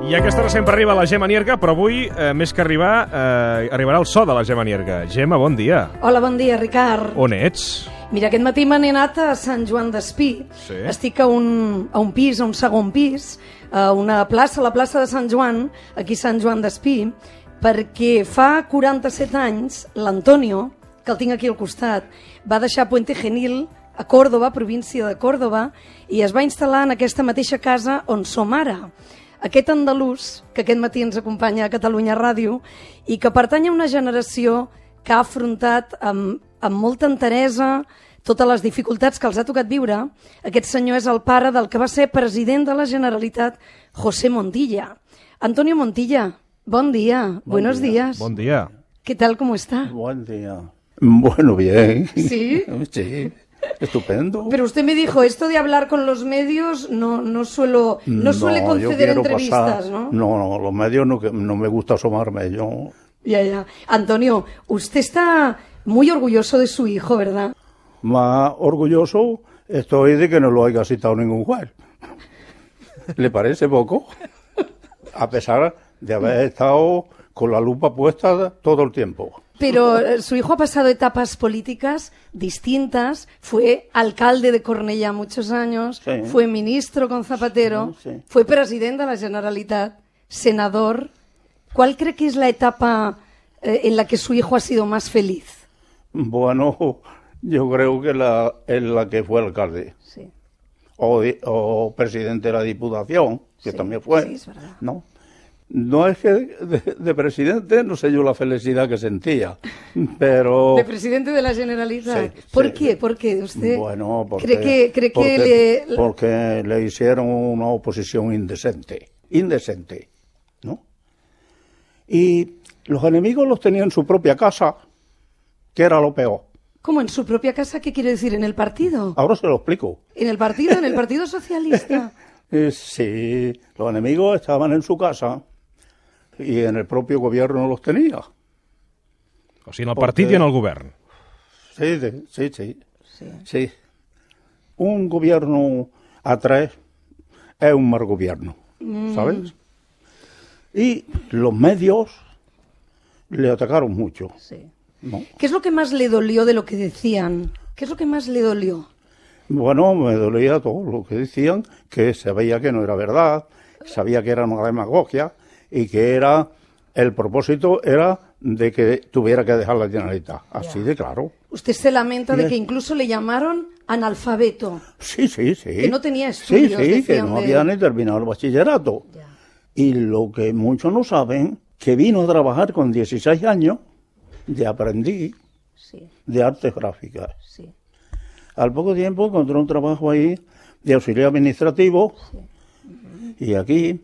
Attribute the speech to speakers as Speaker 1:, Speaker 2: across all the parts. Speaker 1: I a aquesta hora sempre arriba la Gemma Nierga, però avui, eh, més que arribar, eh, arribarà el so de la Gemma Nierga. Gemma, bon dia.
Speaker 2: Hola, bon dia, Ricard.
Speaker 1: On ets?
Speaker 2: Mira, aquest matí me n'he anat a Sant Joan d'Espí.
Speaker 1: Sí.
Speaker 2: Estic a un, a un pis, a un segon pis, a una plaça, la plaça de Sant Joan, aquí a Sant Joan d'Espí, perquè fa 47 anys l'Antonio, que el tinc aquí al costat, va deixar Puente Genil a Còrdoba, província de Còrdoba, i es va instal·lar en aquesta mateixa casa on som ara. Aquest andalús, que aquest matí ens acompanya a Catalunya Ràdio, i que pertany a una generació que ha afrontat amb, amb molta enteresa totes les dificultats que els ha tocat viure, aquest senyor és el pare del que va ser president de la Generalitat, José Montilla. Antonio Montilla, bon dia, buenos
Speaker 3: dia,
Speaker 2: días.
Speaker 1: Bon dia.
Speaker 2: ¿Qué tal, cómo está?
Speaker 3: Buen día. Bueno, bien.
Speaker 2: Sí.
Speaker 3: Sí. Estupendo.
Speaker 2: Pero usted me dijo, esto de hablar con los medios no, no, suelo, no suele
Speaker 3: yo
Speaker 2: conceder
Speaker 3: quiero
Speaker 2: entrevistas,
Speaker 3: pasar-
Speaker 2: ¿no?
Speaker 3: No, no, los medios no, que- no me gusta asomarme. Yo,
Speaker 2: Ya, ya. Antonio, usted está muy orgulloso de su hijo, ¿verdad?
Speaker 3: más orgulloso estoy de que no lo haya citado ningún juez. ¿Le parece poco? A pesar de haber estado con la lupa puesta todo el tiempo.
Speaker 2: Pero eh, su hijo ha pasado etapas políticas distintas. Fue alcalde de Cornellá muchos años,
Speaker 3: Sí.
Speaker 2: fue ministro con Zapatero,
Speaker 3: Sí, sí.
Speaker 2: fue presidente de la Generalitat, senador. ¿Cuál cree que es la etapa eh, en la que su hijo ha sido más feliz?
Speaker 3: Bueno, yo creo que la, es la que fue alcalde.
Speaker 2: Sí.
Speaker 3: o, di- o presidente de la Diputación, que
Speaker 2: Sí,
Speaker 3: también fue.
Speaker 2: sí, es verdad.
Speaker 3: No, no es que de, de presidente no sé yo la felicidad que sentía, pero
Speaker 2: De presidente de la Generalitat.
Speaker 3: Oh. Sí,
Speaker 2: ¿Por
Speaker 3: sí.
Speaker 2: qué? ¿Por qué? ¿Usted
Speaker 3: bueno, porque,
Speaker 2: cree que, cree que
Speaker 3: porque-
Speaker 2: le...
Speaker 3: porque le hicieron una oposición indecente, indecente, ¿no? Y los enemigos los tenía en su propia casa, que era lo peor.
Speaker 2: ¿Cómo en su propia casa? ¿Qué quiere decir? ¿En el partido?
Speaker 3: Ahora se lo explico.
Speaker 2: ¿En el partido? ¿En el Partido Socialista?
Speaker 3: Eh, Sí, los enemigos estaban en su casa y en el propio gobierno los tenía.
Speaker 1: O sigui, en el partit i en el govern.
Speaker 3: Sí, de- sí, sí,
Speaker 2: Sí.
Speaker 3: sí. Un gobierno a tres es un mal gobierno, ¿sabes? Y los medios le atacaron mucho,
Speaker 2: Sí.
Speaker 3: ¿no?
Speaker 2: ¿Qué es lo que más le dolió de lo que decían? ¿Qué es lo que más le dolió?
Speaker 3: Bueno, me dolía todo lo que decían, que sabía que no era verdad, sabía que era una demagogia y que era el propósito era de que tuviera que dejar la Generalitat. Así de claro.
Speaker 2: Usted se lamenta de
Speaker 3: Mira.
Speaker 2: que incluso le llamaron analfabeto.
Speaker 3: Sí, sí, sí.
Speaker 2: Que no tenía
Speaker 3: Sí,
Speaker 2: estudios,
Speaker 3: sí, que
Speaker 2: decían
Speaker 3: no
Speaker 2: de-
Speaker 3: había ni terminado el bachillerato. Y lo que muchos no saben, que vino a trabajar con 16 años de aprendí
Speaker 2: Sí,
Speaker 3: de artes gráficas.
Speaker 2: sí.
Speaker 3: Al poco tiempo encontró un trabajo ahí de auxiliar administrativo y aquí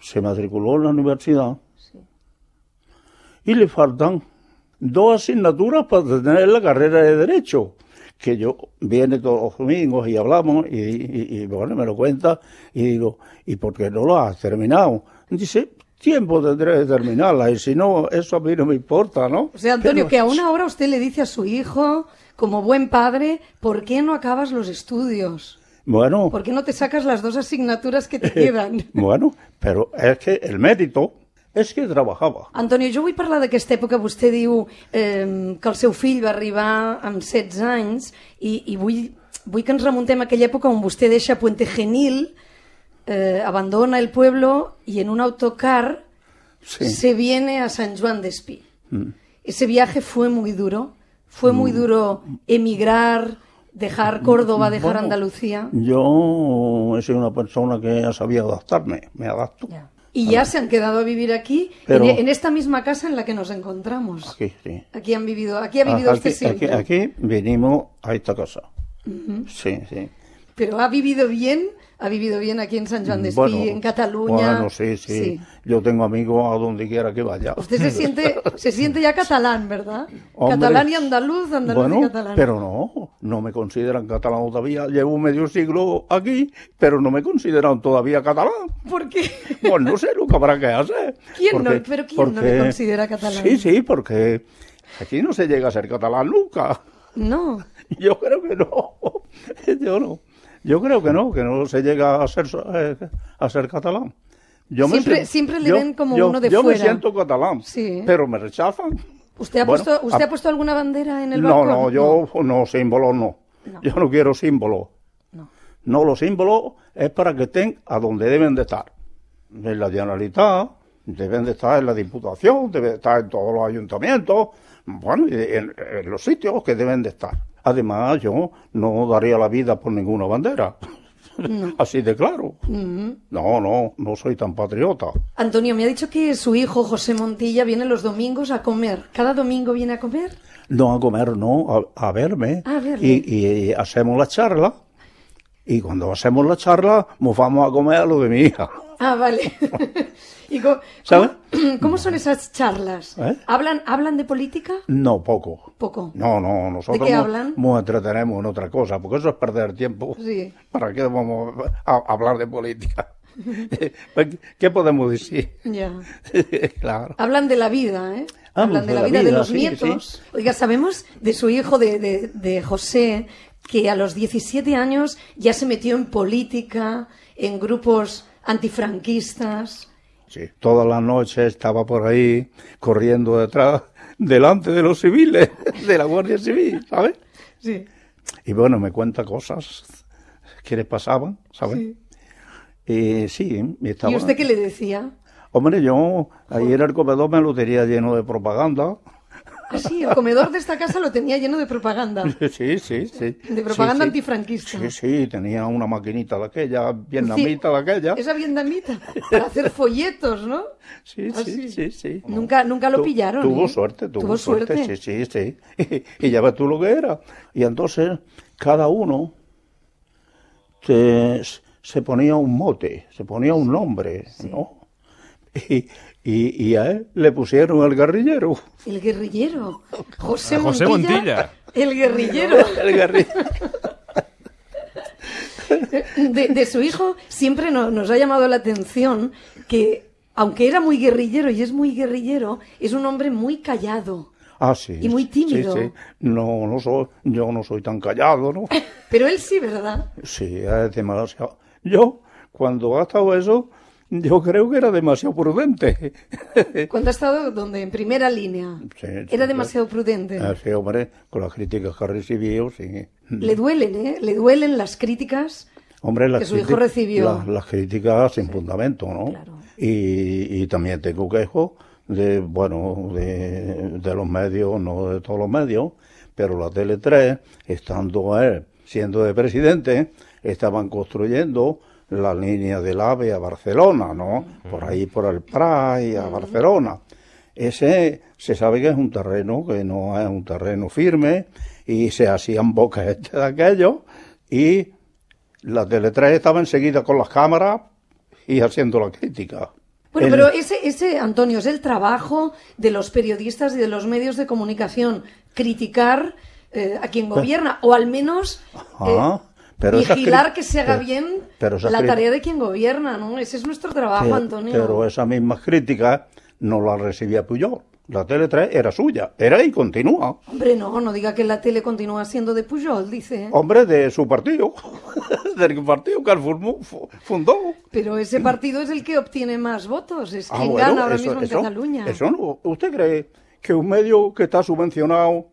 Speaker 3: se matriculó en la universidad. Y le faltan dos asignaturas para tener la carrera de Derecho, que yo viene todos los domingos y hablamos y, y- y, bueno, me lo cuenta y digo, ¿y por qué no lo has terminado? Dice, tiempo tendré de terminarla y si no, eso a mí no me importa, ¿no?
Speaker 2: O sea, Antonio,
Speaker 3: Pero-
Speaker 2: que aún ahora usted le dice a su hijo, como buen padre, ¿por qué no acabas los estudios?
Speaker 3: Bueno,
Speaker 2: ¿Por qué no te sacas las dos asignaturas que te quedan?
Speaker 3: Bueno, pero es que el mérito es que trabajaba.
Speaker 2: Antonio, jo vull parlar d'aquesta època. Vostè diu eh, que el seu fill va arribar amb 16 anys i, i vull, vull que ens remuntem a aquella època on vostè deixa Puente Genil, eh, abandona el pueblo i en un autocar
Speaker 3: Sí. Mm.
Speaker 2: se viene a San Juan de Espí. Ese viaje fue muy duro. Fue muy duro emigrar, dejar Córdoba, dejar
Speaker 3: Mm. Bueno,
Speaker 2: Andalucía.
Speaker 3: Yo he sido una persona que ya sabía adaptarme, me adapto.
Speaker 2: Y ya se han quedado a vivir aquí,
Speaker 3: Pero-
Speaker 2: en, en esta misma casa en la que nos encontramos.
Speaker 3: Aquí, sí.
Speaker 2: Aquí han vivido, aquí ha vivido
Speaker 3: Ah,
Speaker 2: este
Speaker 3: aquí,
Speaker 2: usted siempre.
Speaker 3: aquí- aquí vinimos a esta casa. Sí, sí.
Speaker 2: Pero ha vivido bien, ha vivido bien aquí en San Juan de Espí,
Speaker 3: Mm, Bueno,
Speaker 2: en Cataluña.
Speaker 3: Bueno, sí, sí, Yo tengo amigos a donde quiera que vaya.
Speaker 2: Usted se siente, se siente ya catalán, ¿verdad?
Speaker 3: Hombre,
Speaker 2: catalán y andaluz, andaluz
Speaker 3: bueno,
Speaker 2: y catalán.
Speaker 3: pero no, no me consideran catalán todavía. Llevo medio siglo aquí, pero no me consideran todavía catalán.
Speaker 2: ¿Por qué?
Speaker 3: Pues no sé lo que habrá que hacer.
Speaker 2: ¿Quién no? ¿Pero quién no me considera catalán?
Speaker 3: Sí, sí, porque aquí no se llega a ser catalán nunca.
Speaker 2: No.
Speaker 3: Yo creo que no. Yo no. Yo creo que no, que no se llega a ser, eh, a ser catalán. Yo me
Speaker 2: Siempre-
Speaker 3: sien-
Speaker 2: siempre le ven como
Speaker 3: yo-
Speaker 2: uno de
Speaker 3: yo
Speaker 2: fuera.
Speaker 3: me siento catalán,
Speaker 2: Sí.
Speaker 3: pero me rechazan.
Speaker 2: ¿Usted ha,
Speaker 3: Bueno,
Speaker 2: puesto, usted
Speaker 3: a-
Speaker 2: ha puesto alguna bandera en el
Speaker 3: No,
Speaker 2: balcón?
Speaker 3: no, yo no, símbolo no.
Speaker 2: No.
Speaker 3: Yo no quiero símbolo.
Speaker 2: No.
Speaker 3: No, los símbolos es para que estén a donde deben de estar. En la Generalitat, deben de estar en la Diputación, deben de estar en todos los ayuntamientos, bueno, y en, en los sitios que deben de estar. Además, yo no daría la vida por ninguna bandera. Así de claro. No, no, no soy tan patriota.
Speaker 2: Antonio, me ha dicho que su hijo, José Montilla, viene los domingos a comer. ¿Cada domingo viene a comer?
Speaker 3: No a comer, no, a, a verme.
Speaker 2: A verle.
Speaker 3: Y, y hacemos la charla. Y cuando hacemos la charla, nos vamos a comer a lo de mi hija.
Speaker 2: Ah, vale. ¿Y co-
Speaker 3: ¿Sabe?
Speaker 2: ¿Cómo, cómo son esas charlas?
Speaker 3: ¿Eh?
Speaker 2: ¿Hablan, ¿Hablan de política?
Speaker 3: No, poco.
Speaker 2: Poco.
Speaker 3: No, no, nosotros
Speaker 2: qué
Speaker 3: nos-
Speaker 2: hablan?
Speaker 3: nos entretenemos en otra cosa, porque eso es perder tiempo.
Speaker 2: Sí.
Speaker 3: ¿Para qué vamos a a hablar de política? ¿Qué- ¿Qué podemos decir?
Speaker 2: Ya.
Speaker 3: claro.
Speaker 2: Hablan de la vida, ¿eh?
Speaker 3: Ah,
Speaker 2: Hablan
Speaker 3: pues
Speaker 2: de la vida, de los
Speaker 3: sí,
Speaker 2: nietos. Oiga, sabemos de su hijo, de, de- de José, que a los 17 años ya se metió en política, en grupos antifranquistas.
Speaker 3: Sí. Todas las noches estaba por ahí corriendo detrás, delante de los civiles, de la Guardia Civil, ¿sabes?
Speaker 2: Sí.
Speaker 3: Y bueno, me cuenta cosas que le pasaban, ¿sabes?
Speaker 2: Sí.
Speaker 3: Y sí, y estaba...
Speaker 2: ¿Y usted qué le decía?
Speaker 3: Hombre, yo ayer el comedor me lo tenía lleno de propaganda.
Speaker 2: Ah, sí, el comedor de esta casa lo tenía lleno de propaganda.
Speaker 3: Sí, sí, sí.
Speaker 2: De propaganda
Speaker 3: Sí, sí.
Speaker 2: antifranquista.
Speaker 3: Sí, sí, tenía una maquinita de aquella, vietnamita de aquella.
Speaker 2: Esa vietnamita, para hacer folletos, ¿no?
Speaker 3: Sí,
Speaker 2: Ah, sí.
Speaker 3: sí, sí, sí.
Speaker 2: Nunca- nunca lo
Speaker 3: Tu-
Speaker 2: pillaron,
Speaker 3: Tuvo
Speaker 2: ¿eh?
Speaker 3: suerte, tuvo,
Speaker 2: Tuvo
Speaker 3: suerte.
Speaker 2: suerte.
Speaker 3: Sí, sí, sí. Y ya ves tú lo que era. Y entonces cada uno te- se ponía un mote, se ponía un nombre, ¿no? Y, y, y a él le pusieron el guerrillero.
Speaker 2: El guerrillero. José,
Speaker 1: Ah, José
Speaker 2: Montilla,
Speaker 1: Montilla.
Speaker 2: El guerrillero.
Speaker 3: El guerrillero.
Speaker 2: De, de su hijo siempre no- nos ha llamado la atención que, aunque era muy guerrillero y es muy guerrillero, es un hombre muy callado.
Speaker 3: Ah, sí.
Speaker 2: Y muy
Speaker 3: sí,
Speaker 2: tímido.
Speaker 3: sí. No, no soy, yo no soy tan callado, ¿no?
Speaker 2: Pero él sí, ¿verdad?
Speaker 3: Sí, es demasiado. Yo, cuando ha estado eso, yo creo que era demasiado prudente.
Speaker 2: Cuando ha estado donde en primera línea.
Speaker 3: Sí, sí,
Speaker 2: Era demasiado prudente.
Speaker 3: Ah, sí, hombre, con las críticas que recibió, sí.
Speaker 2: Le duelen, ¿eh? Le duelen las críticas.
Speaker 3: Hombre, las
Speaker 2: Que su hijo
Speaker 3: criti-
Speaker 2: recibió.
Speaker 3: Las, las críticas sin fundamento, ¿no?
Speaker 2: Claro.
Speaker 3: Y, y también tengo quejo de, bueno, de, de los medios, no de todos los medios, pero la Tele3, estando él siendo de presidente, estaban construyendo la línea del AVE a Barcelona, ¿no? Por ahí, por el Prat y a Barcelona. Ese se sabe que es un terreno que no es un terreno firme y se hacían bocas este de aquello y la Tele3 estaba enseguida con las cámaras y haciendo la crítica.
Speaker 2: Bueno,
Speaker 3: El-
Speaker 2: pero ese, ese, Antonio, es el trabajo de los periodistas y de los medios de comunicación, criticar eh, a quien gobierna, o al menos eh,
Speaker 3: Ah, pero esas
Speaker 2: vigilar
Speaker 3: cri-
Speaker 2: que se haga
Speaker 3: pero-
Speaker 2: bien
Speaker 3: pero esas
Speaker 2: la
Speaker 3: cri-
Speaker 2: tarea de quien gobierna, ¿no? Ese es nuestro trabajo,
Speaker 3: Pero-
Speaker 2: Antonio.
Speaker 3: Pero esas mismas críticas no las recibía Puyol. La Tele3 era suya, era y continúa.
Speaker 2: Hombre, no, no diga que la tele continúa siendo de Pujol, dice.
Speaker 3: Hombre de su partido, del partido que él formó- fu- fundó.
Speaker 2: Pero ese partido es el que obtiene más votos, es
Speaker 3: Ah,
Speaker 2: quien
Speaker 3: bueno,
Speaker 2: gana ahora
Speaker 3: eso-
Speaker 2: mismo en
Speaker 3: eso-
Speaker 2: Cataluña.
Speaker 3: eso no- ¿Usted cree que un medio que está subvencionado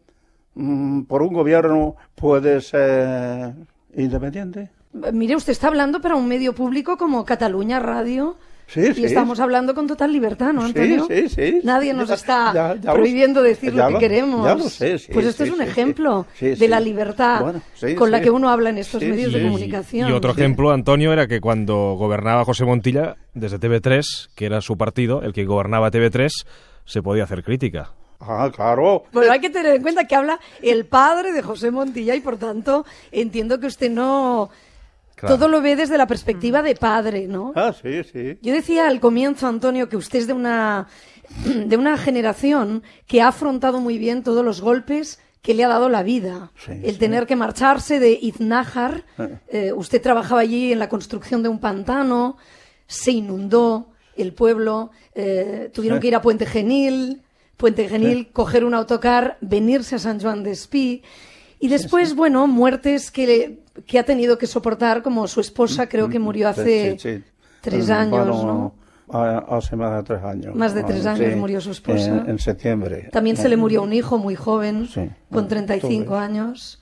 Speaker 3: mm, por un gobierno puede ser independiente?
Speaker 2: Mire, usted está hablando para un medio público como Cataluña Radio.
Speaker 3: Sí,
Speaker 2: y
Speaker 3: sí.
Speaker 2: estamos hablando con total libertad, ¿no,
Speaker 3: Sí,
Speaker 2: Antonio?
Speaker 3: sí, sí.
Speaker 2: Nadie nos
Speaker 3: Ya,
Speaker 2: está
Speaker 3: ya, ya lo
Speaker 2: prohibiendo
Speaker 3: sé.
Speaker 2: decir lo
Speaker 3: Ya
Speaker 2: que
Speaker 3: lo-
Speaker 2: queremos.
Speaker 3: ya lo sé, sí,
Speaker 2: pues este
Speaker 3: sí,
Speaker 2: es un
Speaker 3: sí,
Speaker 2: ejemplo
Speaker 3: sí,
Speaker 2: de
Speaker 3: sí.
Speaker 2: la libertad
Speaker 3: Bueno, sí,
Speaker 2: con la
Speaker 3: sí.
Speaker 2: que uno habla en estos
Speaker 3: Sí,
Speaker 2: medios
Speaker 3: sí.
Speaker 2: de
Speaker 3: Y-
Speaker 2: comunicación.
Speaker 1: Y otro ejemplo, Antonio, era que cuando gobernaba José Montilla, desde TV3, que era su partido, el que gobernaba TV3, se podía hacer crítica.
Speaker 3: Ah, claro.
Speaker 2: Bueno, hay que tener en cuenta que habla el padre de José Montilla y, por tanto, entiendo que usted no...
Speaker 1: Claro.
Speaker 2: Todo lo ve desde la perspectiva de padre, ¿no?
Speaker 3: Ah, sí, sí.
Speaker 2: Yo decía al comienzo, Antonio, que usted es de una, de una generación que ha afrontado muy bien todos los golpes que le ha dado la vida.
Speaker 3: Sí,
Speaker 2: El
Speaker 3: sí. Ah.
Speaker 2: tener que marcharse de Iznájar, eh, usted trabajaba allí en la construcción de un pantano, se inundó el pueblo, eh, tuvieron que ir a Puente Genil, Puente Genil, coger un autocar, venirse a San Juan de Espí. Y después, bueno, muertes que, que ha tenido que soportar, como su esposa creo que murió
Speaker 3: Mm, Sí,
Speaker 2: hace
Speaker 3: sí, sí.
Speaker 2: tres
Speaker 3: Eh,
Speaker 2: años,
Speaker 3: bueno,
Speaker 2: ¿no?
Speaker 3: a- hace más de tres años.
Speaker 2: Más de tres
Speaker 3: Ah,
Speaker 2: años murió su esposa.
Speaker 3: En, en septiembre.
Speaker 2: También se le murió un hijo muy joven,
Speaker 3: Sí.
Speaker 2: con 35
Speaker 3: Joven.
Speaker 2: años.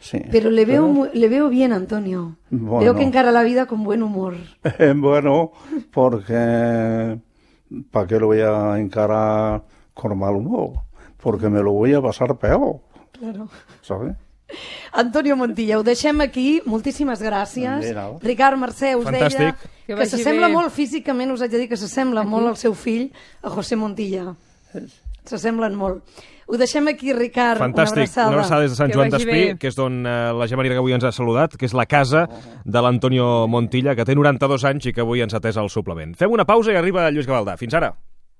Speaker 3: Sí.
Speaker 2: Pero le veo, mu- le veo bien, Antonio.
Speaker 3: Bueno.
Speaker 2: Veo que encara la vida con buen humor.
Speaker 3: Eh, bueno, porque ¿para qué lo voy a encarar con mal humor? Porque me lo voy a pasar peor,
Speaker 2: Claro.
Speaker 3: ¿sabes?
Speaker 2: Antonio Montilla, ho deixem aquí. Moltíssimes gràcies.
Speaker 3: Bé, no?
Speaker 2: Ricard, Mercè, us
Speaker 1: Fantàstic.
Speaker 2: deia
Speaker 4: Que
Speaker 2: que,
Speaker 4: vagi
Speaker 2: s'assembla
Speaker 4: bé.
Speaker 2: molt físicament, us haig de dir que s'assembla molt al seu fill, a José Montilla. S'assemblen molt. Ho deixem aquí, Ricard.
Speaker 1: Fantàstic,
Speaker 2: Una abraçada.
Speaker 1: una abraçada des de Sant
Speaker 4: Que
Speaker 1: Joan
Speaker 4: vagi
Speaker 1: d'Espí,
Speaker 4: bé.
Speaker 1: que és d'on eh, la Gemma Nira que avui ens ha saludat, que és la casa de l'Antonio Montilla, que té 92 anys i que avui ens ha atès al suplement. Fem una pausa i arriba Lluís Gavaldà. Fins ara.